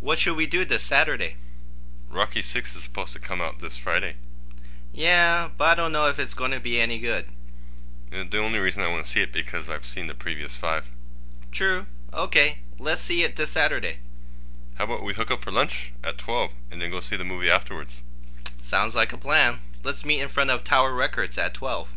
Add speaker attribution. Speaker 1: What shall we do this Saturday?"
Speaker 2: "Rocky Six is supposed to come out this Friday."
Speaker 1: "Yeah, but I don't know if it's going to be any good."
Speaker 2: "The only reason I want to see it because I've seen the previous five."
Speaker 1: "True. Okay, let's see it this Saturday."
Speaker 2: "How about we hook up for lunch at twelve and then go see the movie afterwards?"
Speaker 1: "Sounds like a plan. Let's meet in front of Tower Records at twelve."